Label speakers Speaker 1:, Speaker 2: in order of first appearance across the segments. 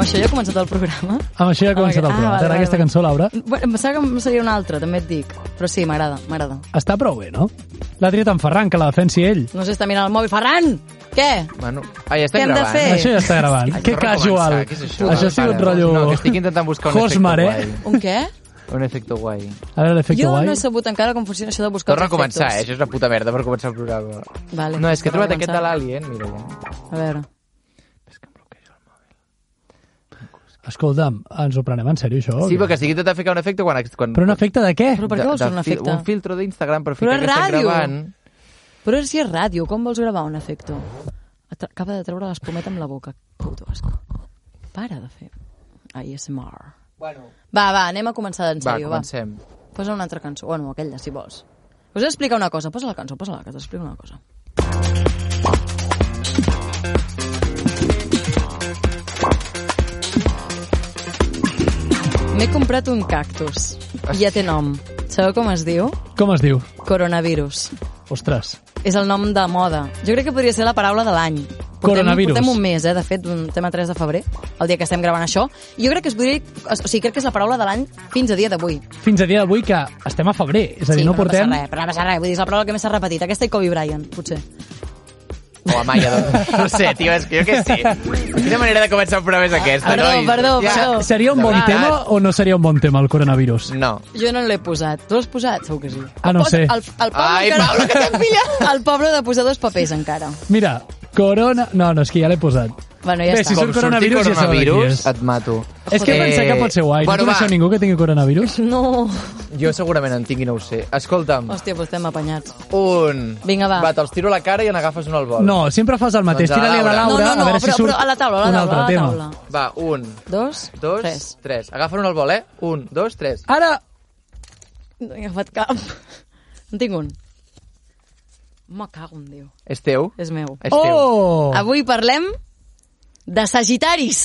Speaker 1: això ja ha començat el programa?
Speaker 2: Amb això ja ha començat el
Speaker 1: Ah,
Speaker 2: programa.
Speaker 1: vale,
Speaker 2: T'agrada
Speaker 1: vale,
Speaker 2: aquesta
Speaker 1: vale.
Speaker 2: cançó, Laura?
Speaker 1: Bueno, em pensava que seria una altra, també et dic. Però sí, m'agrada, m'agrada.
Speaker 2: Està prou bé, no? L'ha tret en Ferran, que la defensi ell.
Speaker 1: No sé, està mirant el mòbil. Ferran! Què?
Speaker 3: Bueno, ai, estem
Speaker 1: Què hem de
Speaker 3: gravant.
Speaker 1: fer? Eh.
Speaker 2: Això ja està gravant.
Speaker 3: Ai,
Speaker 2: que
Speaker 3: torna a
Speaker 2: casual.
Speaker 3: començar, què és això?
Speaker 2: Això ha sigut
Speaker 3: Para,
Speaker 2: rotllo...
Speaker 3: No, que estic intentant buscar un
Speaker 2: Hosmar,
Speaker 3: efecte
Speaker 2: eh?
Speaker 3: guai.
Speaker 1: Un què?
Speaker 3: Un efecte guai.
Speaker 2: A veure l'efecte
Speaker 1: jo
Speaker 2: guai.
Speaker 1: no he sabut encara com funciona això de buscar
Speaker 3: Torna a
Speaker 1: els efectes.
Speaker 3: començar, eh? Això és una puta merda per començar el programa.
Speaker 1: Vale,
Speaker 3: no, és que he
Speaker 1: torna a
Speaker 3: trobat aquest de
Speaker 1: començar.
Speaker 3: l'Alien, mira. eh?
Speaker 1: A veure.
Speaker 2: Escolta'm, ens ho prenem en sèrio, això?
Speaker 3: Sí, però que estic intentant ficar un efecte quan... quan
Speaker 2: Però un efecte de què?
Speaker 1: Però per
Speaker 3: de-
Speaker 1: què vols
Speaker 3: de
Speaker 1: fer un
Speaker 3: fil-
Speaker 1: efecte?
Speaker 3: Un filtro d'Instagram per
Speaker 1: Però
Speaker 3: ficar
Speaker 1: és
Speaker 3: que estem
Speaker 1: ràdio.
Speaker 3: gravant.
Speaker 1: Però si és ràdio, com vols gravar un efecte? Atra- Acaba de treure l'espumeta amb la boca. Puto asco. Para de fer ASMR.
Speaker 3: Bueno,
Speaker 1: Va, va, anem a començar en
Speaker 3: va,
Speaker 1: sèrio, va.
Speaker 3: comencem.
Speaker 1: Posa una altra cançó. Bueno, aquella, si vols. Us he d'explicar una cosa. Posa la cançó, posa la, que t'explico una cosa. M'he comprat un cactus. Ja té nom. Sabeu com es diu?
Speaker 2: Com es diu?
Speaker 1: Coronavirus.
Speaker 2: Ostres.
Speaker 1: És el nom de moda. Jo crec que podria ser la paraula de l'any. Portem,
Speaker 2: Coronavirus.
Speaker 1: portem un mes, eh, de fet, un tema 3 de febrer, el dia que estem gravant això. I jo crec que es podria... O sigui, crec que és la paraula de l'any fins a dia d'avui.
Speaker 2: Fins a dia d'avui que estem a febrer, és a dir,
Speaker 1: sí,
Speaker 2: no
Speaker 1: però
Speaker 2: portem...
Speaker 1: No passa res, però no passa res. Vull dir, és la paraula que més s'ha repetit. Aquesta i Kobe Bryant, potser.
Speaker 3: O a Maia, doncs. No sé, tio, és que jo què sé. Quina manera de començar el programa és aquesta,
Speaker 1: Perdó,
Speaker 3: nois?
Speaker 1: perdó,
Speaker 3: Ja.
Speaker 1: perdó.
Speaker 2: Seria un
Speaker 3: De
Speaker 2: bon
Speaker 3: veritat.
Speaker 2: tema o no seria un bon tema, el coronavirus?
Speaker 3: No.
Speaker 1: Jo no l'he posat. Tu l'has posat? Segur que sí.
Speaker 2: Ah, no ho
Speaker 1: Posa-
Speaker 2: sé.
Speaker 1: El, el Pablo
Speaker 3: Ai,
Speaker 1: encara...
Speaker 3: Pablo, que t'hem pillat!
Speaker 1: El Pablo ha de posar dos papers encara.
Speaker 2: Mira, corona... No, no, és que ja l'he posat.
Speaker 1: Bueno, ja
Speaker 2: Bé,
Speaker 1: està.
Speaker 2: si surt
Speaker 3: Com sortir
Speaker 2: coronavirus, ja sabeu de qui
Speaker 3: coronavirus,
Speaker 2: és.
Speaker 3: et mato.
Speaker 2: És que
Speaker 3: Eh,
Speaker 2: pensar que pot ser guai.
Speaker 3: bueno,
Speaker 2: no coneixeu
Speaker 3: va.
Speaker 2: ningú que tingui coronavirus?
Speaker 1: No.
Speaker 3: Jo segurament en tinc i no ho sé. Escolta'm,
Speaker 1: Hòstia, doncs estem apanyats.
Speaker 3: un...
Speaker 1: Vinga, va.
Speaker 3: Va, te'ls tiro a la cara i en agafes un al vol.
Speaker 2: No, sempre fas el mateix.
Speaker 3: Doncs a la
Speaker 2: Tira-li a la
Speaker 3: Laura.
Speaker 2: Laura,
Speaker 1: no, no,
Speaker 2: a
Speaker 1: no,
Speaker 2: veure
Speaker 1: però,
Speaker 2: si surt
Speaker 1: però a la taula, a
Speaker 2: un
Speaker 1: la
Speaker 2: altre
Speaker 1: taula, a la
Speaker 2: tema.
Speaker 1: taula.
Speaker 3: Va, un,
Speaker 1: Dos,
Speaker 3: dos,
Speaker 1: tres.
Speaker 3: tres. Agafa un al vol, eh? Un, dos, tres.
Speaker 2: Ara,
Speaker 1: No he agafat cap. En tinc un. Me cago en Déu.
Speaker 3: És teu?
Speaker 1: És meu.
Speaker 3: És teu.
Speaker 2: oh!
Speaker 1: Avui parlem de Sagitaris.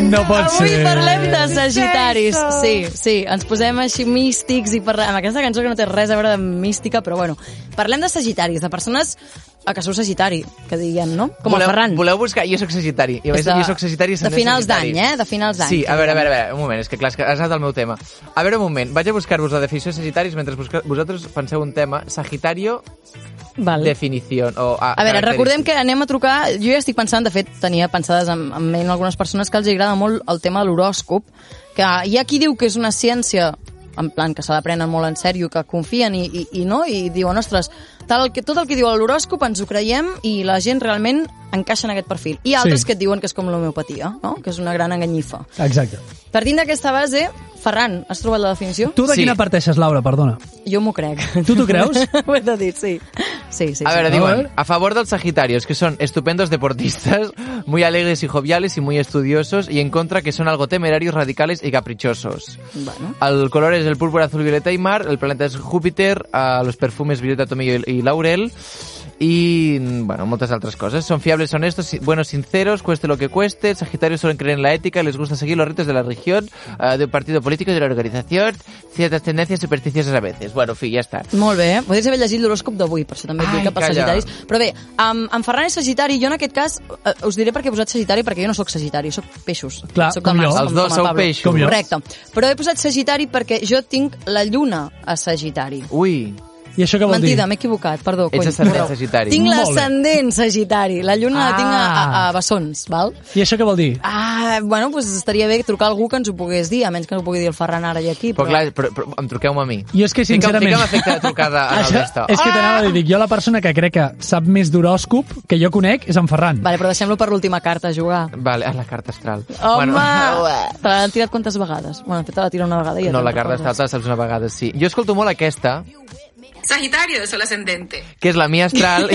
Speaker 2: No pot
Speaker 1: Avui
Speaker 2: ser.
Speaker 1: parlem de Sagitaris. Sí, sí, ens posem així místics i parlem... Amb aquesta cançó que no té res a veure amb mística, però bueno. Parlem de Sagitaris, de persones a que sou Sagitari, que diguem, no? Com
Speaker 3: voleu,
Speaker 1: el Ferran.
Speaker 3: Voleu buscar... Jo soc sagitari. Jo,
Speaker 1: És de-
Speaker 3: jo soc sagitari i
Speaker 1: de
Speaker 3: ascendent
Speaker 1: finals
Speaker 3: Sagitari.
Speaker 1: d'any, eh? De finals d'any.
Speaker 3: Sí, a veure, a veure, a veure, un moment, és que clar, és que has anat al meu tema. A veure, un moment, vaig a buscar-vos la definició de sagitaris mentre busca... vosaltres penseu un tema. Sagitario,
Speaker 1: Vale.
Speaker 3: definició. O, ah,
Speaker 1: A veure, recordem que anem a trucar... Jo ja estic pensant, de fet, tenia pensades en, en ment algunes persones que els agrada molt el tema de l'horòscop, que hi ha qui diu que és una ciència en plan que se la prenen molt en sèrio, que confien i, i, i no, i diuen, ostres, tal, que, tot el que diu l'horòscop ens ho creiem i la gent realment encaixa en aquest perfil. Hi ha altres
Speaker 2: Sí.
Speaker 1: que et diuen que és com l'homeopatia, no? que és una gran enganyifa.
Speaker 2: Exacte.
Speaker 1: Partint d'aquesta base, Ferran, has trobat la definició?
Speaker 2: Tu de
Speaker 3: Sí.
Speaker 2: quina parteixes, Laura, perdona?
Speaker 1: Jo m'ho crec.
Speaker 2: Tu t'ho creus?
Speaker 1: Ho he de dir, sí. Sí, sí.
Speaker 3: A
Speaker 1: sí.
Speaker 3: ver,
Speaker 2: A
Speaker 3: digo,
Speaker 2: ver.
Speaker 3: a favor de los Sagitarios, que son estupendos deportistas, muy alegres y joviales y muy estudiosos, y en contra que son algo temerarios, radicales y caprichosos.
Speaker 1: Bueno.
Speaker 3: El color es el púrpura, azul, violeta y mar, el planeta es Júpiter, a los perfumes violeta, tomillo y, y laurel, y bueno, muchas otras cosas. Son fiables, honestos, si- buenos, sinceros, cueste lo que cueste. Sagitarios suelen creer en la ética, les gusta seguir los retos de la religión, eh, del partido político y de la organización, ciertas tendencias supersticiosas a veces. Bueno, en fin, ya está.
Speaker 1: Molt bé, eh? podries haver llegit l'horòscop d'avui, per això també et
Speaker 3: Ai,
Speaker 1: dic que pels
Speaker 3: calla.
Speaker 1: sagitaris. Però bé, amb, amb Ferran és sagitari, jo en aquest cas eh, us diré per què he posat sagitari, perquè jo no sóc sagitari, sóc peixos.
Speaker 2: Clar,
Speaker 1: soc
Speaker 2: com jo.
Speaker 3: Els dos sou peixos.
Speaker 2: Com jo.
Speaker 1: Correcte. Però he posat sagitari perquè jo tinc la lluna a sagitari.
Speaker 3: Uy,
Speaker 2: I això què vol
Speaker 1: Mentida,
Speaker 2: dir?
Speaker 1: m'he equivocat, perdó.
Speaker 3: Ets
Speaker 1: cony,
Speaker 3: ascendent
Speaker 1: perdó.
Speaker 3: sagitari.
Speaker 1: Tinc
Speaker 2: Molt bé.
Speaker 1: l'ascendent sagitari. La lluna ah.
Speaker 2: Ah.
Speaker 1: la tinc a, a, a bessons, val?
Speaker 2: I això què vol dir?
Speaker 1: Ah, bueno, doncs estaria bé trucar a algú que ens ho pogués dir, a menys que no ho pugui dir el Ferran ara i aquí.
Speaker 3: Però, clar, però, però em truqueu-me a mi.
Speaker 2: Jo és que, sincerament...
Speaker 3: Fica'm, fica'm efecte de trucada a la
Speaker 2: Això,
Speaker 3: resta.
Speaker 2: és que t'anava a dir, dic, jo la persona que crec que sap més d'horòscop que jo conec és en Ferran.
Speaker 1: Vale, però deixem-lo per l'última carta a jugar.
Speaker 3: Ah, Vale, a la carta astral.
Speaker 1: Home! Bueno.
Speaker 3: Bueno,
Speaker 1: Te l'han tirat quantes vegades? Bueno, de fet, te la tira una vegada i ja
Speaker 3: no,
Speaker 1: te'n
Speaker 3: la carta
Speaker 1: recordes.
Speaker 3: astral te la saps una vegada, sí. Jo escolto molt aquesta,
Speaker 4: Sagitario de Sol Ascendente.
Speaker 3: que és la Mia Astral.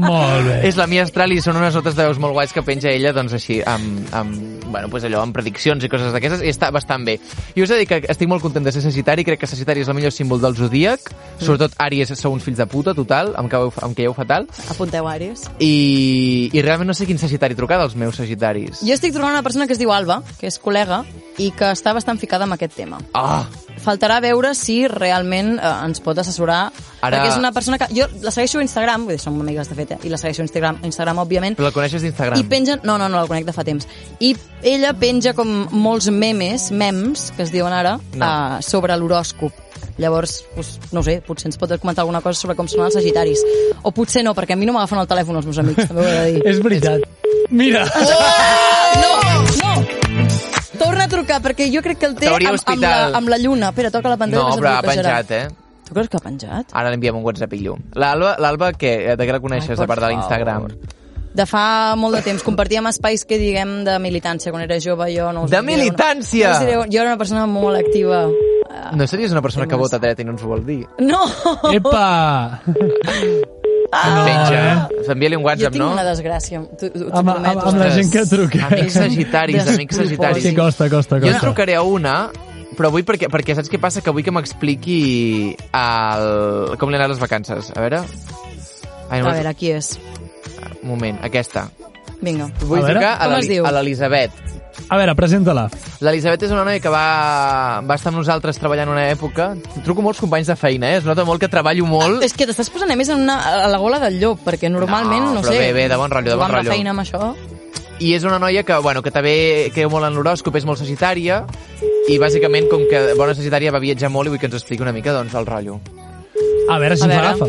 Speaker 2: Molt bé.
Speaker 3: és la Mia Astral i són unes notes de veus molt guais que penja ella, doncs així, amb, amb, bueno, pues allò, amb prediccions i coses d'aquestes, i està bastant bé. I us he de dir que estic molt content de ser Sagitari, crec que Sagitari és el millor símbol del zodíac,
Speaker 2: Mm.
Speaker 3: sobretot Àries sou uns fills de puta, total, amb què, amb què fatal,
Speaker 1: Apunteu, Àries.
Speaker 3: i, i realment no sé quin Sagitari trucar dels meus Sagitaris.
Speaker 1: Jo estic trobant una persona que es diu Alba, que és col·lega, i que està bastant ficada amb aquest tema.
Speaker 3: Ah,
Speaker 1: faltarà veure si realment eh, ens pot assessorar.
Speaker 3: Ara-
Speaker 1: Ara... Perquè és una persona que... Jo la segueixo a Instagram, vull dir, som amigues, de fet, eh? i la segueixo a Instagram, a Instagram òbviament,
Speaker 3: Però la coneixes d'Instagram.
Speaker 1: i penja... No, no, no, la conec de fa temps. I ella penja com molts memes, memes, que es diuen ara,
Speaker 3: No.
Speaker 1: no. uh, sobre l'horòscop. Llavors, pues, no ho sé, potser ens pot comentar alguna cosa sobre com són els sagitaris. O potser no, perquè a mi no m'agafen el telèfon els meus amics, també ho he de
Speaker 3: Eh!
Speaker 1: dir.
Speaker 2: És veritat. Mira,
Speaker 1: No, no! Torna a trucar, perquè jo crec que el té amb,
Speaker 3: Teoria
Speaker 1: amb, la,
Speaker 3: hospital.
Speaker 1: amb la lluna. Espera, toca la pantalla
Speaker 3: No,
Speaker 1: que se't
Speaker 3: però ha
Speaker 1: bloquejarà.
Speaker 3: penjat, eh?
Speaker 1: Tu creus que ha penjat?
Speaker 3: Ara li enviem un WhatsApp i llum. L'Alba, l'Alba què? Eh, De què la coneixes,
Speaker 1: Ai,
Speaker 3: a
Speaker 1: per
Speaker 3: part de l'Instagram?
Speaker 1: favor. De fa molt de temps. Compartíem espais que diguem de militància. Quan era jove jo no us
Speaker 3: De
Speaker 1: diré, no-
Speaker 3: militància!
Speaker 1: No, us diré, jo era una persona molt activa. Eh,
Speaker 3: No series una persona que
Speaker 1: Temes.
Speaker 3: vota dreta i no ens ho vol dir?
Speaker 1: No!
Speaker 2: epa!
Speaker 3: Ah, Penja.
Speaker 2: Ah.
Speaker 3: Envia-li un
Speaker 1: Jo
Speaker 3: WhatsApp,
Speaker 1: tinc
Speaker 3: no?
Speaker 1: una desgràcia. Tu, tu, t'ho
Speaker 2: Amb, amb,
Speaker 1: prometo.
Speaker 2: amb la gent que truca.
Speaker 3: Amics sagitaris,
Speaker 1: Des-
Speaker 3: amics sagitaris.
Speaker 2: Sí, costa, costa,
Speaker 3: Jo en
Speaker 2: costa.
Speaker 3: trucaré a una, però vull perquè, perquè saps què passa? Que vull que m'expliqui el... com li han anat les vacances. A veure... Ai,
Speaker 1: A
Speaker 3: m'has-
Speaker 1: veure, qui és?
Speaker 3: Un moment, aquesta.
Speaker 1: Vinga.
Speaker 3: Vull
Speaker 2: veure.
Speaker 3: trucar a
Speaker 1: Com es
Speaker 3: l'Eli-
Speaker 1: diu?
Speaker 3: a l'Elisabet.
Speaker 2: A veure, presenta-la.
Speaker 3: L'Elisabet és una noia que va, va estar amb nosaltres treballant una època. Truco molts companys de feina, eh? Es nota molt que treballo molt.
Speaker 1: Ah, És que t'estàs posant a més en una, a la gola del llop, perquè normalment,
Speaker 3: No,
Speaker 1: no,
Speaker 3: però
Speaker 1: sé...
Speaker 3: bé, bé, de bon rotllo, de
Speaker 1: jugant
Speaker 3: bon rotllo.
Speaker 1: la feina amb això...
Speaker 3: I és una noia que, bueno, que també creu molt en l'horòscop, és molt sagitària, i bàsicament, com que bona sagitària va viatjar molt, i vull que ens expliqui una mica, doncs, el rotllo.
Speaker 2: A veure si
Speaker 1: A
Speaker 2: ens
Speaker 1: veure.
Speaker 2: agafa.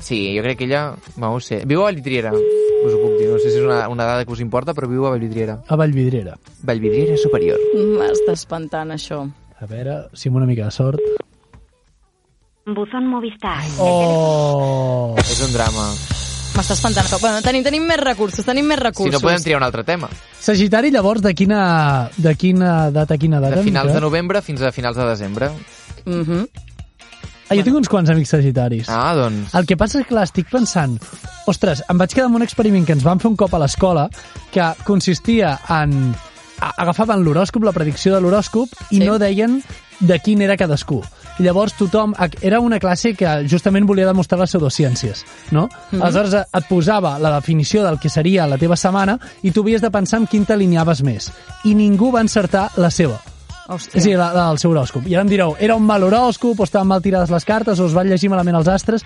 Speaker 3: Sí, jo crec que ella, no ho sé, viu a Vallvidriera, us ho puc dir, no sé si és una, una dada que us importa, però viu a Vallvidriera.
Speaker 2: A Vallvidrera.
Speaker 3: Vallvidriera Superior.
Speaker 1: M'està espantant, això.
Speaker 2: A veure si amb una mica de sort...
Speaker 5: Buzón Movistar.
Speaker 2: Oh!
Speaker 3: És un drama.
Speaker 1: M'està espantant. Bueno, tenim, tenim més recursos, tenim més
Speaker 3: Si
Speaker 1: recursos.
Speaker 3: no podem triar un altre tema.
Speaker 2: Sagitari, llavors, de quina, de quina data a quina data?
Speaker 3: De finals de
Speaker 2: Miquel?
Speaker 3: novembre fins a finals de desembre.
Speaker 1: Mm -hmm.
Speaker 2: Ah, jo tinc uns quants amics sagitaris.
Speaker 3: Ah, doncs...
Speaker 2: El que passa és que clar, estic pensant... Ostres, em vaig quedar amb un experiment que ens van fer un cop a l'escola que consistia en... a- Agafaven l'horòscop, la predicció de l'horòscop, i
Speaker 1: Sí.
Speaker 2: no deien de quin era cadascú. I llavors tothom... Era una classe que justament volia demostrar les pseudociències, no?
Speaker 3: Mhm.
Speaker 2: Mm -hmm. Aleshores et- et posava la definició del que seria la teva setmana i tu havies de pensar en quin t'alineaves més. I ningú va encertar la seva.
Speaker 1: Hòstia.
Speaker 2: Sí, la, la del seu horòscop. I ara em direu, era un mal horòscop, o estaven mal tirades les cartes, o es van llegir malament els astres...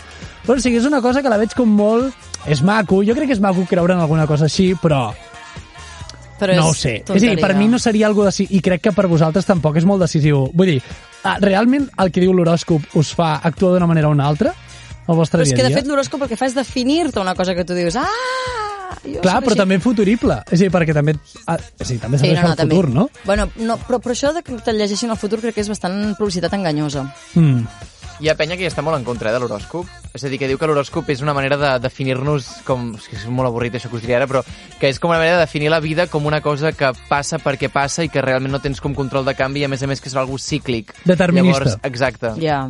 Speaker 2: Però o sigui, és una cosa que la veig com molt... És maco, jo crec que és maco creure en alguna cosa així, però
Speaker 1: Però
Speaker 2: no ho
Speaker 1: és
Speaker 2: sé. És a
Speaker 1: tonteria.
Speaker 2: dir, per mi no seria algo de... I crec que per vosaltres tampoc és molt decisiu. Vull dir, ah, realment el que diu l'horòscop us fa actuar d'una manera o una altra? El vostre
Speaker 1: Però és
Speaker 2: dia
Speaker 1: que,
Speaker 2: a
Speaker 1: de
Speaker 2: dia?
Speaker 1: fet, l'horòscop el que fa és definir-te una cosa que tu dius... Ah! Jo
Speaker 2: Clar,
Speaker 1: sóc
Speaker 2: però
Speaker 1: així."
Speaker 2: també futurible. És a dir, perquè també... Ah, és a dir, també serveix sí, no, pel
Speaker 1: també.
Speaker 2: futur, no?
Speaker 1: Bueno, no, però, però això de que te llegeixin el futur crec que és bastant publicitat enganyosa.
Speaker 2: Mm.
Speaker 3: Hi ha penya que hi està molt en contra eh, de l'horòscop. És a dir, que diu que l'horòscop és una manera de definir-nos com... És que és molt avorrit això que us diré ara, però que és com una manera de definir la vida com una cosa que passa perquè passa i que realment no tens com control de canvi i a més a més que serà algú cíclic.
Speaker 2: Determinista.
Speaker 3: Llavors, exacte. Yeah.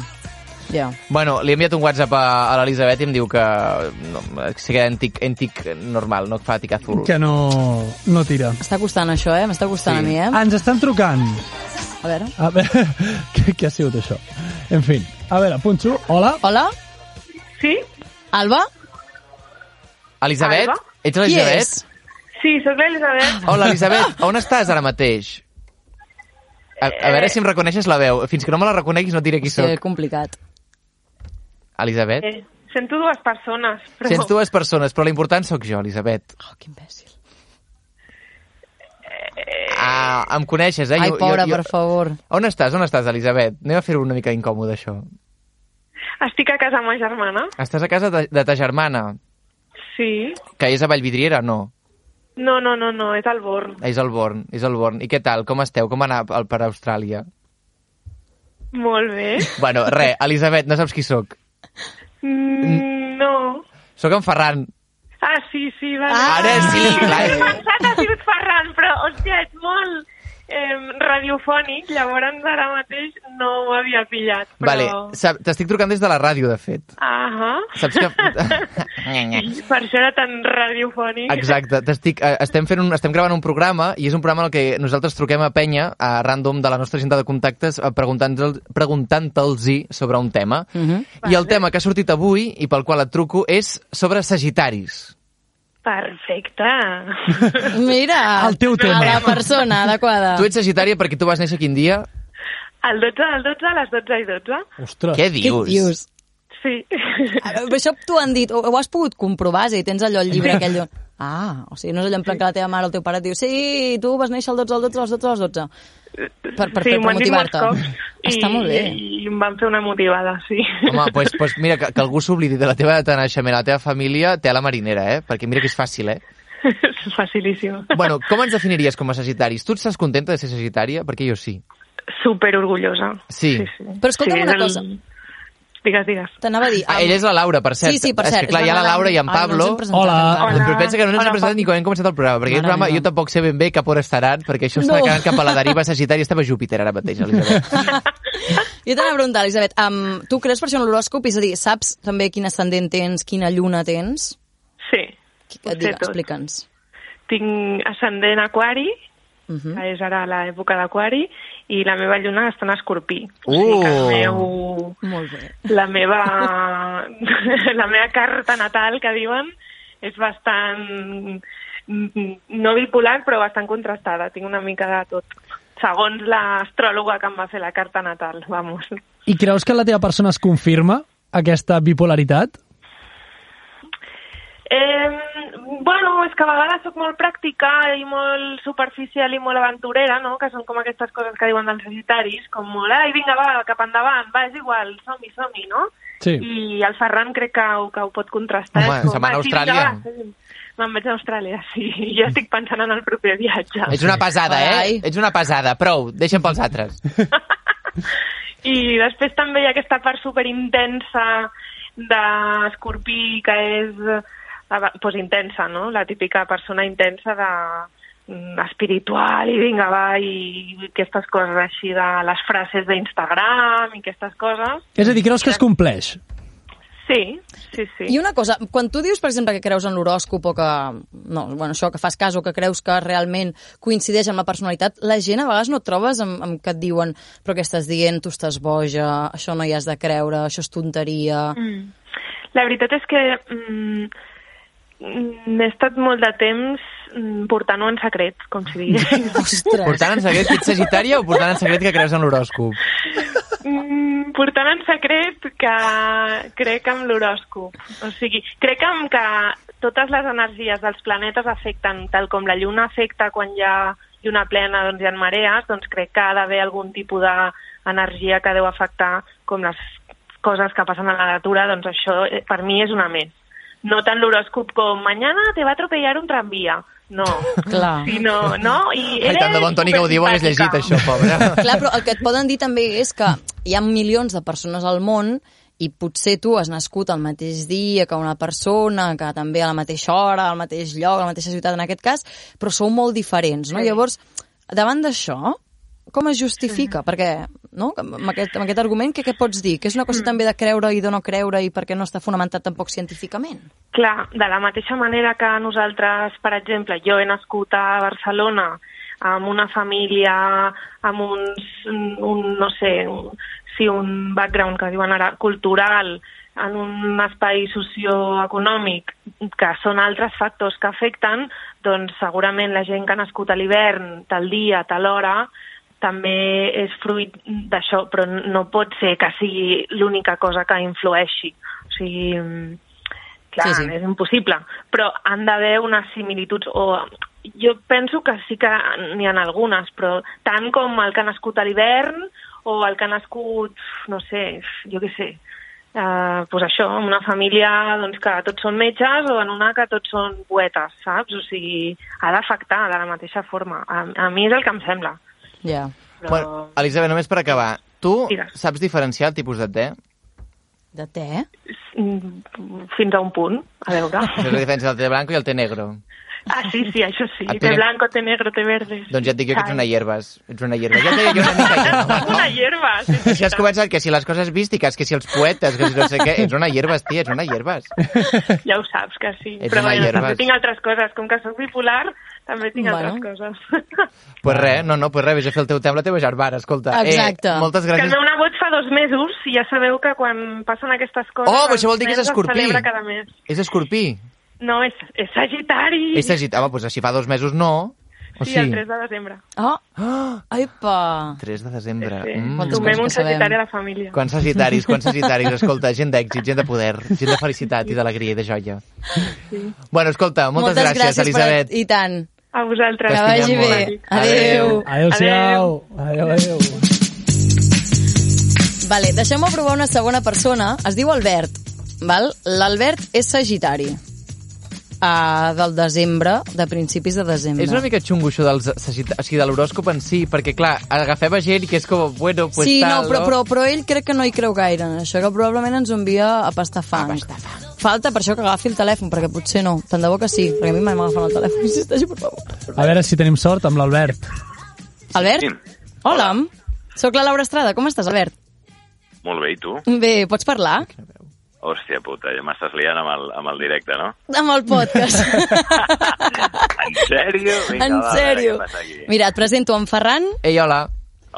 Speaker 1: Ja, ja.
Speaker 3: Bueno, li he enviat un WhatsApp a, a l'Elisabet i em diu que no, que sí que era antic, antic normal, no fa tic azul.
Speaker 2: Que no, no tira.
Speaker 1: Està costant això, eh? M'està costant
Speaker 3: Sí. Ah.
Speaker 1: a mi, eh?
Speaker 2: Ens estan trucant.
Speaker 1: A veure.
Speaker 2: A veure, què, què ha sigut això? En fi, a veure, Punxo, hola.
Speaker 1: Hola?
Speaker 6: Sí,
Speaker 1: Alba?
Speaker 3: Elisabet?
Speaker 6: Alba?
Speaker 3: Ets
Speaker 1: Qui
Speaker 3: l'Elisabet?
Speaker 1: és?
Speaker 6: sí, sóc l'Elisabet.
Speaker 3: Hola, Elisabet, on estàs ara mateix? A, a veure si em reconeixes la veu. Fins que no me la reconeguis no et diré qui
Speaker 1: Sí,
Speaker 3: sóc.
Speaker 1: complicat.
Speaker 3: Elisabet?
Speaker 6: Eh, sento dues persones, però...
Speaker 3: Sents dues persones, però l'important sóc jo, Elisabet.
Speaker 1: Oh, que imbècil.
Speaker 3: Eh,
Speaker 6: Eh.
Speaker 3: Ah, em coneixes, eh?
Speaker 1: Ai, pobra, per favor.
Speaker 3: On estàs? On estàs, Elisabet? Anem a fer-ho una mica incòmode, això.
Speaker 6: Estic a casa amb ma germana.
Speaker 3: Estàs a casa de, de ta germana,
Speaker 6: Sí.
Speaker 3: que és a Vallvidriera, no?
Speaker 6: No, no, no, no, és al Born.
Speaker 3: És al Born, és al Born. I què tal? Com esteu? Com anar al- per Austràlia?
Speaker 6: Molt bé.
Speaker 3: Bueno, re, Elisabet, no saps qui sóc.
Speaker 6: Mm, no.
Speaker 3: Sóc en Ferran.
Speaker 6: Ah, sí, sí, vale.
Speaker 1: Ah.
Speaker 3: Ara sí, clar. eh.
Speaker 6: He pensat ha sigut Ferran, però, hòstia, és molt eh, radiofònic, llavors ara mateix no ho havia pillat. Però...
Speaker 3: Vale, sap- t'estic trucant des de la ràdio, de fet.
Speaker 6: Ahà.
Speaker 3: Saps que...
Speaker 6: Per això era tan radiofònic.
Speaker 3: Exacte, t'estic, eh, estem, fent un, estem gravant un programa i és un programa en el que nosaltres truquem a penya, a random de la nostra agenda de contactes, eh, preguntant-te'ls preguntant sobre un tema. Mm -hmm.
Speaker 1: Mhm.
Speaker 3: I el tema que ha sortit avui i pel qual et truco és sobre Sagitaris.
Speaker 6: Perfecte.
Speaker 1: Mira,
Speaker 2: El teu tema.
Speaker 1: a la persona adequada. Ah.
Speaker 3: Tu ets Sagitària perquè tu vas néixer quin dia?
Speaker 6: El 12 del 12 a les 12 i 12.
Speaker 2: Ostres.
Speaker 3: Què
Speaker 1: Què
Speaker 3: dius?
Speaker 1: dius?
Speaker 6: Sí.
Speaker 1: Ara, Això t'ho han dit, ho, ho has pogut comprovar, és a dir, tens allò, el llibre aquell... on- Ah, o sigui, no és allò en plan que la teva mare o el teu pare et diu sí, tu vas néixer el 12, el 12, el 12, el 12. Per, per,
Speaker 6: sí,
Speaker 1: per, per
Speaker 6: m'ho han dit molts
Speaker 1: motivar-te.
Speaker 6: cops.
Speaker 1: Està molt bé.
Speaker 6: I, I em van fer una motivada, sí.
Speaker 3: Home, doncs pues, pues mira, que, que algú s'oblidi de la teva data de naixement, la teva família, té a la marinera, eh? Perquè mira que és fàcil, eh?
Speaker 6: És Facilíssim.
Speaker 3: Bueno, com ens definiries com a sagitaris? Tu estàs contenta de ser sagitària? Perquè jo sí.
Speaker 6: Super orgullosa.
Speaker 3: Sí.
Speaker 1: Però escolta'm
Speaker 6: és
Speaker 1: una cosa.
Speaker 6: Digues, digues.
Speaker 1: T'anava a dir...
Speaker 3: Ah, ella és la Laura, per cert.
Speaker 1: Sí, sí, per cert.
Speaker 3: És que clar, hi ha la Laura i en
Speaker 1: Ai, no
Speaker 3: Pablo.
Speaker 1: ens hem presentat
Speaker 2: Hola.
Speaker 1: encara.
Speaker 6: Hola.
Speaker 3: Però pensa que no ens
Speaker 6: Hola,
Speaker 3: hem presentat
Speaker 6: Pablo.
Speaker 3: ni quan hem començat el programa, perquè aquest
Speaker 1: Mare
Speaker 3: programa
Speaker 1: meva.
Speaker 3: jo tampoc sé ben bé cap on estaran, perquè això està
Speaker 1: No.
Speaker 3: quedant cap a la deriva sagitària, estava a Júpiter ara mateix, Elisabet.
Speaker 1: Jo t'anava a preguntar, Elisabet, um, tu creus per això en l'horòscop? És a dir, saps també quin ascendent tens, quina lluna tens?
Speaker 6: Sí.
Speaker 1: Qui-
Speaker 6: Ho sé
Speaker 1: Digue,
Speaker 6: tot.
Speaker 1: Explica'ns.
Speaker 6: Tinc ascendent aquari,
Speaker 1: Uh -huh.
Speaker 6: que és ara l'època d'aquari, i la meva lluna està en escorpí. O
Speaker 3: Uh!
Speaker 6: sigui que el meu...
Speaker 1: Molt bé.
Speaker 6: La meva, la meva carta natal, que diuen, és bastant, mm, no bipolar, però bastant contrastada. Tinc una mica de tot. Segons l'astròloga que em va fer la carta natal, vamos.
Speaker 2: I creus que la teva persona es confirma, aquesta bipolaritat?
Speaker 6: Eh, bueno, és que a vegades sóc molt pràctica i molt superficial i molt aventurera, no? que són com aquestes coses que diuen dels sagitaris, com molt, ai, vinga, va, cap endavant, va, és igual, som-hi, som-hi, no?
Speaker 2: Sí.
Speaker 6: I el Ferran crec que ho, que ho pot contrastar.
Speaker 3: Home,
Speaker 6: És com,
Speaker 3: se'n va a
Speaker 6: "Ah, sí,
Speaker 3: Austràlia."
Speaker 6: vinga, va, sí. Me'n vaig a Austràlia, sí. Jo estic pensant en el proper viatge.
Speaker 3: Ets una pesada, eh?
Speaker 1: Carai.
Speaker 3: Ets una pesada. Prou, deixa'm pels altres.
Speaker 6: I després també hi ha aquesta part superintensa d'escorpí, que és eh, pues, intensa, no? La típica persona intensa de mm, espiritual i vinga va i aquestes coses així de les frases d'Instagram i aquestes coses
Speaker 2: És a dir, creus que es compleix?
Speaker 6: sí, sí, sí
Speaker 1: I una cosa, quan tu dius, per exemple, que creus en l'horòscop o que, no, bueno, això, que fas cas o que creus que realment coincideix amb la personalitat, la gent a vegades no et trobes amb, amb que et diuen però què estàs dient, tu estàs boja, això no hi has de creure, això és tonteria... Mm.
Speaker 6: La veritat és que mm, mm, he estat molt de temps mm, portant-ho en secret, com si digués.
Speaker 1: Ostres!
Speaker 3: Portant en secret que ets sagitària o portant en secret que creus en l'horòscop?
Speaker 6: mm, portant en secret que crec amb l'horòscop. O sigui, crec amb que totes les energies dels planetes afecten, tal com la Lluna afecta quan hi ha lluna plena, doncs hi ha marees, doncs crec que ha d'haver algun tipus d'energia que deu afectar com les coses que passen a la natura, doncs això eh, per mi és una més. No tant l'horòscop com mañana te va atropellar un tramvia. No,
Speaker 1: Clar.
Speaker 6: sinó, no? I
Speaker 3: Ai, tant de bon Toni que ho diu, hagués llegit
Speaker 6: supersipàtica.
Speaker 3: això, pobre.
Speaker 1: Clar, però el que et poden dir també és que hi ha milions de persones al món i potser tu has nascut el mateix dia que una persona, que també a la mateixa hora, al mateix lloc, a la mateixa ciutat en aquest cas, però sou molt diferents, no?
Speaker 6: Sí.
Speaker 1: Llavors, davant d'això, com es justifica? Perquè, no?, amb aquest, amb aquest argument, què, què pots dir? Que és una
Speaker 3: Mm.
Speaker 1: qüestió també de creure i de no creure i perquè no està fonamentat tampoc científicament.
Speaker 6: Clar, de la mateixa manera que nosaltres, per exemple, jo he nascut a Barcelona amb una família, amb uns, un, no sé, un, sí, un background que diuen ara cultural, en un espai socioeconòmic, que són altres factors que afecten, doncs segurament la gent que ha nascut a l'hivern, tal dia, tal hora, també és fruit d'això, però no pot ser que sigui l'única cosa que influeixi. O sigui, clar,
Speaker 1: Sí,
Speaker 6: sí,
Speaker 1: sí.
Speaker 6: sí. és impossible, però han d'haver unes similituds o jo penso que sí que n'hi ha algunes, però tant com el que ha nascut a l'hivern o el que ha nascut, no sé, jo què sé, eh, pues això, en una família doncs, que tots són metges o en una que tots són poetes, saps? O sigui, ha d'afectar de la mateixa forma. A, a mi és el que em sembla.
Speaker 1: Ja. Yeah.
Speaker 6: Però...
Speaker 3: Bueno, Elisabet, només per acabar. Tu
Speaker 6: Digues.
Speaker 3: saps diferenciar el tipus de te?
Speaker 1: De eh? té?
Speaker 6: Mm, Fins a un punt, a veure.
Speaker 3: Això és la diferència del te blanco i el te negro.
Speaker 6: Ah, sí, sí, això sí.
Speaker 3: Ah, té
Speaker 6: Té
Speaker 3: ne-
Speaker 6: blanco, té negro, té verde.
Speaker 3: Doncs ja et dic jo que ets una
Speaker 6: Ai.
Speaker 3: hierbes. Ets una hierba. Ja et deia jo una mica hierba.
Speaker 6: Sóc una hierba. Sí, sí,
Speaker 3: Si has començat que si les coses vístiques, que si els poetes, que si no sé què... Ets una hierbes, tia, ets una hierbes.
Speaker 6: Ja ho saps que sí.
Speaker 3: Ets
Speaker 6: Però
Speaker 3: una
Speaker 6: bueno,
Speaker 3: hierba.
Speaker 6: també tinc altres coses. Com que sóc bipolar, també tinc
Speaker 1: Bueno.
Speaker 6: altres coses.
Speaker 3: Pues res, no, no, pues res, vés a fer el teu temps, la teva germana, escolta.
Speaker 1: Exacte.
Speaker 3: Eh, moltes
Speaker 6: Que el
Speaker 3: gràcies.
Speaker 6: meu nebot fa dos mesos i ja sabeu que quan passen aquestes coses...
Speaker 3: Oh, però això
Speaker 6: els
Speaker 3: vol dir que és
Speaker 6: nens es
Speaker 3: escorpí.
Speaker 6: celebra cada mes.
Speaker 3: És escorpí.
Speaker 6: No, és, és sagitari.
Speaker 3: És sagitari. Home, doncs així fa dos mesos no. O
Speaker 6: Sí,
Speaker 3: sigui,
Speaker 6: el 3 de desembre.
Speaker 1: Oh,
Speaker 3: Ah!
Speaker 1: aipa!
Speaker 3: 3 de desembre.
Speaker 6: Sí.
Speaker 3: Mm.
Speaker 1: Quantes coses
Speaker 6: Sumem un
Speaker 1: que Doncs sabem.
Speaker 6: sagitari a la família.
Speaker 3: Quants sagitaris, quants sagitaris. Escolta, gent d'èxit, gent de poder, gent de felicitat i d'alegria i de joia. Bueno, escolta, moltes, gràcies,
Speaker 1: per-
Speaker 3: Elisabet.
Speaker 1: I tant.
Speaker 6: A
Speaker 1: Que
Speaker 6: vosaltres.
Speaker 1: vagi
Speaker 3: T'estimem molt.
Speaker 1: bé.
Speaker 3: Adéu.
Speaker 1: Adéu.
Speaker 2: Adéu-siau. Adéu, adéu.
Speaker 1: Vale, deixeu-me provar una segona persona. Es diu Albert, val? L'Albert és sagitari. Uh, del desembre, de principis de desembre.
Speaker 3: És una mica xungo això dels sagita- o sigui, de l'horòscop en si, perquè, clar, agafem a gent que és com, bueno, pues
Speaker 1: sí,
Speaker 3: tal,
Speaker 1: no, però, però, però ell crec que no hi creu gaire en això, que probablement ens ho envia a pastar fang. Falta per això que agafi el telèfon, perquè potser no. Tant de bo que sí, perquè a mi mai m'agafen el telèfon. Insisteixo, per favor.
Speaker 2: A veure si tenim sort amb l'Albert.
Speaker 1: Albert?
Speaker 7: Sí.
Speaker 1: Hola. Soc la Laura Estrada. Com estàs, Albert?
Speaker 7: Molt bé, i tu?
Speaker 1: Bé, pots parlar?
Speaker 7: Hòstia puta, ja m'estàs liant amb el, amb el directe, no?
Speaker 1: Amb el podcast.
Speaker 7: En sèrio? Vinga,
Speaker 1: en
Speaker 7: va, a veure
Speaker 1: sèrio.
Speaker 7: què passa aquí.
Speaker 1: Mira, et presento en Ferran
Speaker 3: Ei, hola.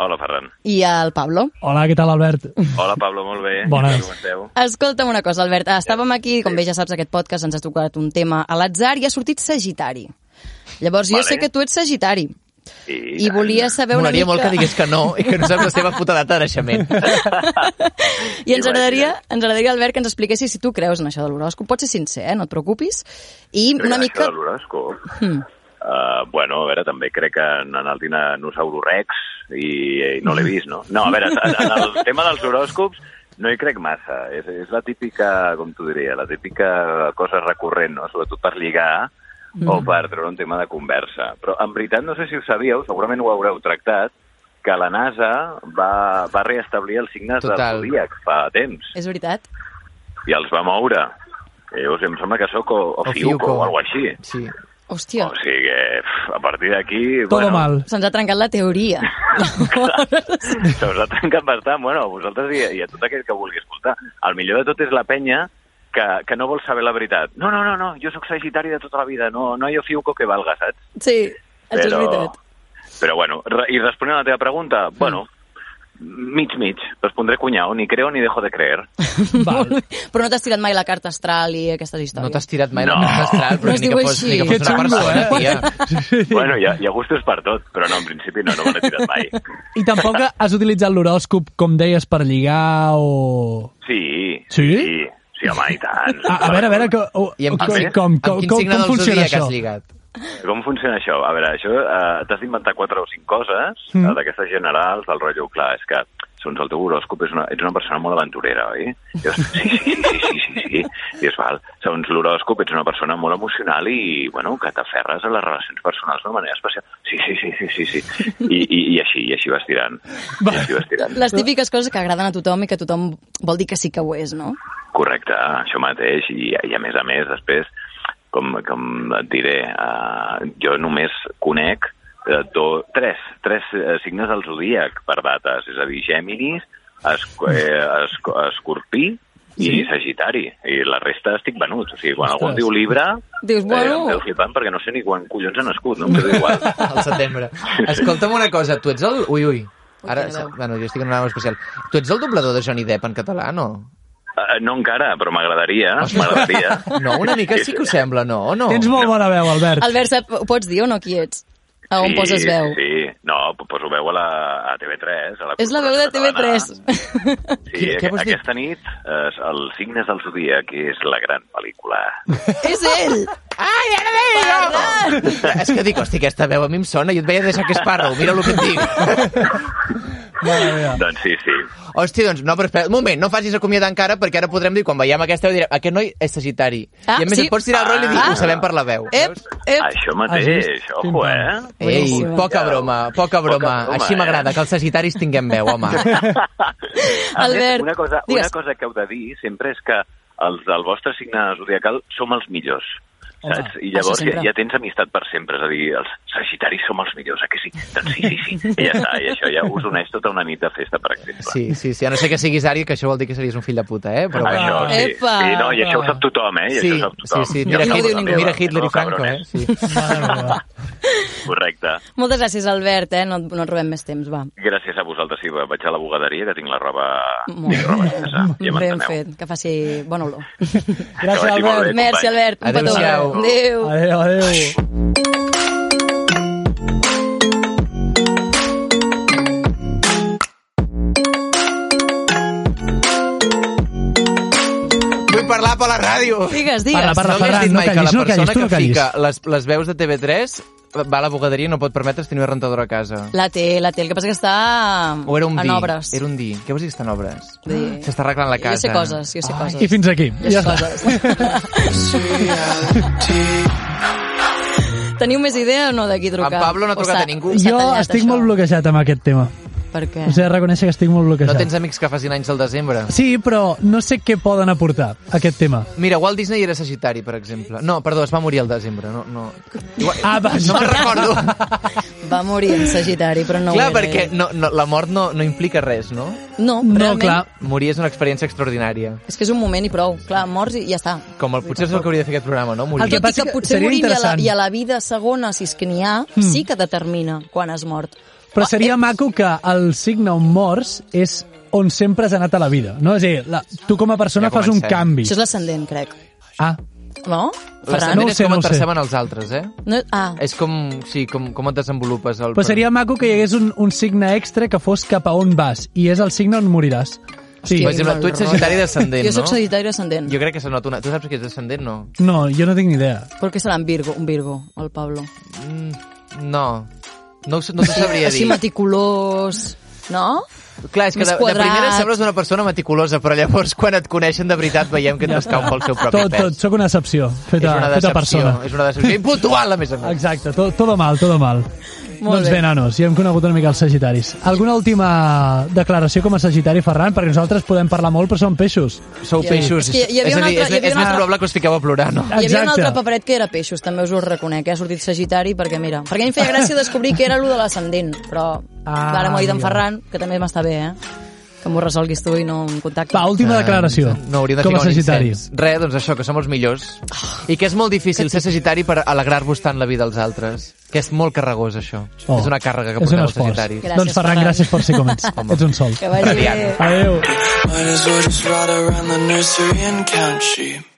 Speaker 7: Hola, Ferran.
Speaker 1: i el Pablo.
Speaker 2: Hola, què tal, Albert?
Speaker 7: Hola, Pablo, molt bé.
Speaker 2: Bones.
Speaker 7: Com esteu?
Speaker 1: Escolta'm una cosa, Albert. Estàvem aquí, com bé ja saps, aquest podcast ens ha tocat un tema a l'atzar i ha sortit Sagitari. Llavors, jo
Speaker 7: Vale.
Speaker 1: sé que tu ets Sagitari
Speaker 7: I,
Speaker 1: i volia saber una
Speaker 3: Molaria
Speaker 1: mica...
Speaker 3: molt que digués que no i que no saps la seva puta data de naixement.
Speaker 1: I ens
Speaker 7: Imagina't.
Speaker 1: agradaria, ens agradaria, Albert, que ens expliquessis si tu creus en això de l'horòscop. Pots ser sincer, eh? no et preocupis. I una mica...
Speaker 7: De l'horòscop. Uh, bueno, a veure, també crec que en el dinosauro rex i, i no l'he vist, no? No, a veure, en, en el tema dels horòscops no hi crec massa. És, és la típica, com t'ho diria, la típica cosa recurrent, no? Sobretot per lligar o per treure un tema de conversa. Però en veritat no sé si ho sabíeu, segurament ho haureu tractat, que la NASA va, va reestablir els signes
Speaker 3: Total.
Speaker 7: del zodíac fa temps
Speaker 1: És veritat?
Speaker 7: i els va moure. Llavors em sembla que sóc o, o, fiuco o alguna així.
Speaker 3: Sí.
Speaker 1: Hòstia,
Speaker 7: O sigui que pf, a partir d'aquí...
Speaker 2: Todo mal.
Speaker 1: se'ns ha trencat la teoria.
Speaker 7: Se us ha trencat bastant, bueno, a vosaltres i, i a tot aquell que vulgui escoltar. El millor de tot és la penya que, que no vol saber la veritat. No, no, no, no jo sóc sagitari de tota la vida, no, no jo fiuco que valga, saps?
Speaker 1: sí, això és veritat.
Speaker 7: Però bueno, re- i responent a la teva pregunta,
Speaker 2: Mm.
Speaker 7: bueno, mig, mig, respondré cunyau, ni creo ni dejo de creer.
Speaker 2: Val.
Speaker 1: Però no t'has tirat mai la carta astral i aquestes
Speaker 3: No
Speaker 1: històries.
Speaker 3: t'has tirat mai no.
Speaker 7: No.
Speaker 3: la carta astral,
Speaker 1: No
Speaker 3: però
Speaker 1: es
Speaker 3: ni
Speaker 1: diu
Speaker 3: que fos,
Speaker 1: així.
Speaker 3: ni que fos
Speaker 2: Que
Speaker 3: una
Speaker 2: xungo,
Speaker 3: persona,
Speaker 2: eh?
Speaker 3: tia.
Speaker 7: Bueno, hi ha, hi ha gustos per tot, però no, en principi no, no me l'he tirat mai.
Speaker 2: I tampoc has utilitzat l'horòscop, com deies, per lligar o...
Speaker 7: Sí,
Speaker 2: Sí?
Speaker 7: sí, sí home, i tant.
Speaker 2: A, a veure, a veure, que, o,
Speaker 3: I amb,
Speaker 2: com,
Speaker 3: quin-
Speaker 2: com,
Speaker 3: amb
Speaker 2: com,
Speaker 3: quin
Speaker 2: com,
Speaker 3: signe
Speaker 2: com
Speaker 3: del
Speaker 2: funciona
Speaker 3: zodiac
Speaker 2: això?
Speaker 3: has lligat?
Speaker 7: Com funciona això? A veure, això eh, t'has d'inventar quatre o cinc coses
Speaker 2: Mm.
Speaker 7: mm. d'aquestes generals del rotllo, clar, és que segons el teu horòscop és una, ets una persona molt aventurera, oi? I dius, sí, sí, sí, sí, sí, sí, sí. I és val, segons l'horòscop ets una persona molt emocional i, bueno, que t'aferres a les relacions personals d'una manera especial. Sí, sí, sí, sí, sí, sí. I, i, i així, i així vas tirant. I així vas tirant.
Speaker 1: Les típiques coses que agraden a tothom i que tothom vol dir que sí que ho és, no?
Speaker 7: Correcte, això mateix, i, i a més a més, després, com, com et diré, uh, jo només conec uh, do, tres, tres eh, signes del zodíac per dates, és a dir, Gèminis, Esc eh, Esc Escorpí i
Speaker 2: Sí.
Speaker 7: Sagitari, i la resta estic venut, o sigui, quan
Speaker 2: Ostres.
Speaker 7: algú em diu Libra,
Speaker 1: Dius,
Speaker 7: eh, em
Speaker 1: bueno...
Speaker 7: quedo flipant perquè no sé ni quan collons ha nascut, no em quedo igual.
Speaker 3: Al setembre. Escolta'm una cosa, tu ets el... Ui, ui. Ara,
Speaker 1: Ui, que greu.
Speaker 3: bueno, jo estic en una nova especial. Tu ets el doblador de Johnny Depp en català, no?
Speaker 7: Eh, no encara, però m'agradaria, m'agradaria.
Speaker 3: No, una mica sí que ho sembla, no? O no?
Speaker 2: Tens molt bona veu, Albert.
Speaker 1: Albert, sap, ho pots dir o no qui ets? A on poses veu?
Speaker 7: Sí, sí. no, po- poso veu a, la, a TV3. A la
Speaker 1: És la veu de
Speaker 7: Corporació
Speaker 1: TV3.
Speaker 7: Catalana. Sí,
Speaker 3: Què-
Speaker 7: aqu
Speaker 3: què vols dir?
Speaker 7: aquesta nit, eh, el Signes del Zodíac és la gran pel·lícula.
Speaker 1: és ell! Ai, ara ve! Ferran!
Speaker 3: És que dic, hosti, aquesta veu a mi em sona, jo et veia deixar que Sparrow, mira el que et dic.
Speaker 2: Mare meva.
Speaker 7: doncs sí, sí.
Speaker 3: Hòstia, doncs, no, però espera, un moment, no facis acomiadar encara, perquè ara podrem dir, quan veiem aquesta, veu, direm, aquest noi és sagitari.
Speaker 1: Ah,
Speaker 3: I a més
Speaker 1: sí.
Speaker 3: et pots tirar el rol i dir,
Speaker 1: Ah.
Speaker 3: ho sabem per la veu.
Speaker 1: Ep, ep!
Speaker 3: Ah,
Speaker 7: Això
Speaker 2: Has
Speaker 7: mateix,
Speaker 2: vist? Pim,
Speaker 7: ojo,
Speaker 2: pam.
Speaker 7: eh?
Speaker 3: Ei,
Speaker 1: Boníssima.
Speaker 3: poca broma, poca broma.
Speaker 7: broma,
Speaker 3: Així
Speaker 7: eh?
Speaker 3: m'agrada, que els sagitaris tinguem veu, home.
Speaker 7: A més,
Speaker 1: Albert,
Speaker 7: una cosa, una
Speaker 1: digues.
Speaker 7: cosa que heu de dir sempre és que els del vostre signe zodiacal som els millors.
Speaker 2: Home,
Speaker 7: Saps? I
Speaker 1: això
Speaker 7: llavors ja,
Speaker 1: sempre.
Speaker 7: ja tens amistat per sempre, és a dir, els sagitaris som els millors, eh que sí? Doncs sí, sí, sí, i ja està, i això ja us uneix tota una nit de festa, per exemple.
Speaker 3: Sí, sí, sí, a no ser que siguis Ari, que això vol dir que series un fill de puta, eh? Però bueno.
Speaker 7: Això, sí.
Speaker 1: Epa.
Speaker 7: sí, no, i això ho sap tothom, eh? I
Speaker 3: Sí,
Speaker 7: això ho sap
Speaker 3: sí,
Speaker 7: tothom.
Speaker 3: sí,
Speaker 7: Jo
Speaker 3: mira,
Speaker 7: sóc
Speaker 1: no ho
Speaker 3: Hitler,
Speaker 1: diu ningú.
Speaker 3: mira Hitler i
Speaker 7: No,
Speaker 3: Franco, eh?
Speaker 7: cabrones.
Speaker 3: Sí.
Speaker 2: Mare meva.
Speaker 7: eh? Correcte.
Speaker 1: Moltes gràcies, Albert, eh? No, et- no et robem més temps, va.
Speaker 7: Gràcies a vosaltres, sí, vaig a la bugaderia, que tinc la roba...
Speaker 1: Molt
Speaker 7: Tinc roba estesa, ja
Speaker 1: ben
Speaker 7: m'enteneu.
Speaker 1: fet, que faci bona olor.
Speaker 2: Gràcies,
Speaker 7: vagi molt
Speaker 2: Albert.
Speaker 7: bé.
Speaker 1: Merci, Albert. Un petó.
Speaker 3: Adéu-siau.
Speaker 1: Adéu.
Speaker 2: Adéu, adéu.
Speaker 3: a la ràdio.
Speaker 1: Digues, digues.
Speaker 2: Parla, parla,
Speaker 3: m'has
Speaker 2: Ferran,
Speaker 3: dit
Speaker 2: no
Speaker 3: mai que
Speaker 2: callis,
Speaker 3: la
Speaker 2: no callis,
Speaker 3: persona
Speaker 2: tu no
Speaker 3: que
Speaker 2: callis.
Speaker 3: fica les, les veus de TV3 va a la bugaderia i no pot permetre's tenir una rentadora a casa.
Speaker 1: La té, la té. El que passa que està
Speaker 3: O era un
Speaker 1: en
Speaker 3: dir.
Speaker 1: obres.
Speaker 3: Era un dir. Què vols dir que està en obres?
Speaker 1: Dir.
Speaker 3: S'està arreglant la casa.
Speaker 1: Jo sé coses, jo sé coses.
Speaker 2: I fins aquí.
Speaker 1: Jo
Speaker 2: Ja
Speaker 1: sé
Speaker 2: està.
Speaker 1: coses. Teniu més idea o no d'aquí trucar?
Speaker 3: En Pablo no
Speaker 1: O
Speaker 3: ha trucat
Speaker 1: s'ha-
Speaker 3: a ningú.
Speaker 1: s'ha
Speaker 2: Jo
Speaker 1: tallat,
Speaker 2: estic
Speaker 1: això?
Speaker 2: molt bloquejat amb aquest tema.
Speaker 1: Per què?
Speaker 2: Us he de reconèixer que estic molt
Speaker 3: Eh. No
Speaker 2: bloquejat.
Speaker 3: tens amics que facin anys al desembre.
Speaker 2: Sí, però no sé què poden aportar, aquest tema.
Speaker 3: Mira, Walt Disney era sagitari, per exemple. No, perdó, es va morir al desembre. No, no. Igual-
Speaker 2: Ah, va,
Speaker 3: no me'n
Speaker 2: sorry.
Speaker 3: recordo.
Speaker 1: Va morir en Sagitari, però no ho era
Speaker 2: eh.
Speaker 3: clar, perquè
Speaker 1: ell.
Speaker 3: no, no, la mort no, no implica res, no?
Speaker 1: No,
Speaker 2: No,
Speaker 1: realment,
Speaker 2: clar.
Speaker 3: Morir és una experiència extraordinària.
Speaker 1: És que és un moment i prou. Clar, mors i ja està.
Speaker 3: Com el, potser és el que hauria de fer aquest programa, no? Morir.
Speaker 2: El
Speaker 1: Tot i
Speaker 2: passa
Speaker 1: que
Speaker 2: que
Speaker 1: potser
Speaker 2: seria
Speaker 1: morim i a, la,
Speaker 2: interessant. Hmm.
Speaker 1: i a la vida segona, si és que n'hi ha, sí que determina quan has mort.
Speaker 3: Oh,
Speaker 2: Però
Speaker 3: eh.
Speaker 2: seria maco que el signe on mors és on sempre has anat a la vida. No? És a dir, la, tu com a persona
Speaker 3: Ja
Speaker 2: fas un
Speaker 3: comencem.
Speaker 2: canvi.
Speaker 1: Això és l'ascendent, crec.
Speaker 2: Ah,
Speaker 1: No? Ferran?
Speaker 3: L'ascendent
Speaker 2: No ho
Speaker 3: és
Speaker 2: sé,
Speaker 3: com
Speaker 2: no ho
Speaker 3: et
Speaker 2: sé.
Speaker 3: perceben els altres, eh?
Speaker 1: No, ah,
Speaker 3: És com, sí, com, com et desenvolupes. El...
Speaker 2: però seria maco que hi hagués un, un signe extra que fos cap a on vas, i és el signe on moriràs. Sí.
Speaker 3: Per exemple,
Speaker 1: Quin
Speaker 3: tu ets
Speaker 1: mal
Speaker 3: sagitari
Speaker 1: rotllo.
Speaker 3: descendent,
Speaker 1: jo sóc
Speaker 3: no?
Speaker 1: sagitari ascendent.
Speaker 3: Jo crec que se nota una... Tu saps que ets descendent, no?
Speaker 2: No, jo no tinc ni idea.
Speaker 1: Per què serà en Virgo, un Virgo, el Pablo?
Speaker 3: Mm, no. No, ho sé- no t'ho sabria
Speaker 1: Així
Speaker 3: dir.
Speaker 1: meticulós, no?
Speaker 3: Clar, és que
Speaker 1: més
Speaker 3: de, de
Speaker 1: quadrat.
Speaker 3: primera sembles una persona meticulosa, però llavors quan et coneixen de veritat veiem que et descau pel seu propi
Speaker 2: Tot,
Speaker 3: pes.
Speaker 1: tota-
Speaker 2: tot, sóc una excepció,
Speaker 3: eh? és
Speaker 2: feta,
Speaker 3: una
Speaker 2: feta
Speaker 3: decepció,
Speaker 2: persona.
Speaker 3: és una decepció impuntual, a més a més.
Speaker 2: Exacte, todo, todo mal, todo mal.
Speaker 1: Molt
Speaker 2: doncs
Speaker 1: bé.
Speaker 2: bé, nanos, ja hem conegut una mica els sagitaris. Alguna última declaració com a sagitari, Ferran? Perquè nosaltres podem parlar molt, però som peixos.
Speaker 3: Sou
Speaker 1: Ja. És
Speaker 3: peixos.
Speaker 1: que hi havia
Speaker 3: és a
Speaker 1: una
Speaker 3: dir,
Speaker 1: altra- hi
Speaker 3: és,
Speaker 1: havia
Speaker 3: és
Speaker 1: una
Speaker 3: més
Speaker 1: altra-
Speaker 3: probable que us fiqueu a plorar, no?
Speaker 1: Hi havia un
Speaker 2: Exacte.
Speaker 1: altre paperet que era peixos, també us ho reconec, eh? ha sortit Sagitari, perquè mira... Perquè a mi em feia gràcia descobrir que era allò de l'ascendent, però
Speaker 2: Ah,
Speaker 1: ah, ara m'ho ha dit en
Speaker 2: mira.
Speaker 1: Ferran, que també m'està bé, eh? Que m'ho resolguis tu i no un contacte.
Speaker 2: Va, última declaració.
Speaker 3: Ah, No hauríem de
Speaker 2: com a
Speaker 3: ficar un
Speaker 2: sagitari.
Speaker 3: incens. Res, doncs això, que som els millors. I que és molt difícil ser sagitari per alegrar-vos tant la vida als altres. Que és molt carregós, això.
Speaker 2: Oh,
Speaker 3: és una càrrega que
Speaker 2: és un
Speaker 3: porteu els
Speaker 2: esforç.
Speaker 3: sagitaris.
Speaker 1: Gràcies,
Speaker 2: doncs, Ferran,
Speaker 1: Ferran.
Speaker 2: gràcies per ser com ets. ets un sol.
Speaker 1: Que vagi bé.
Speaker 2: Adéu.
Speaker 8: Might as well just ride around the nursery and count sheep.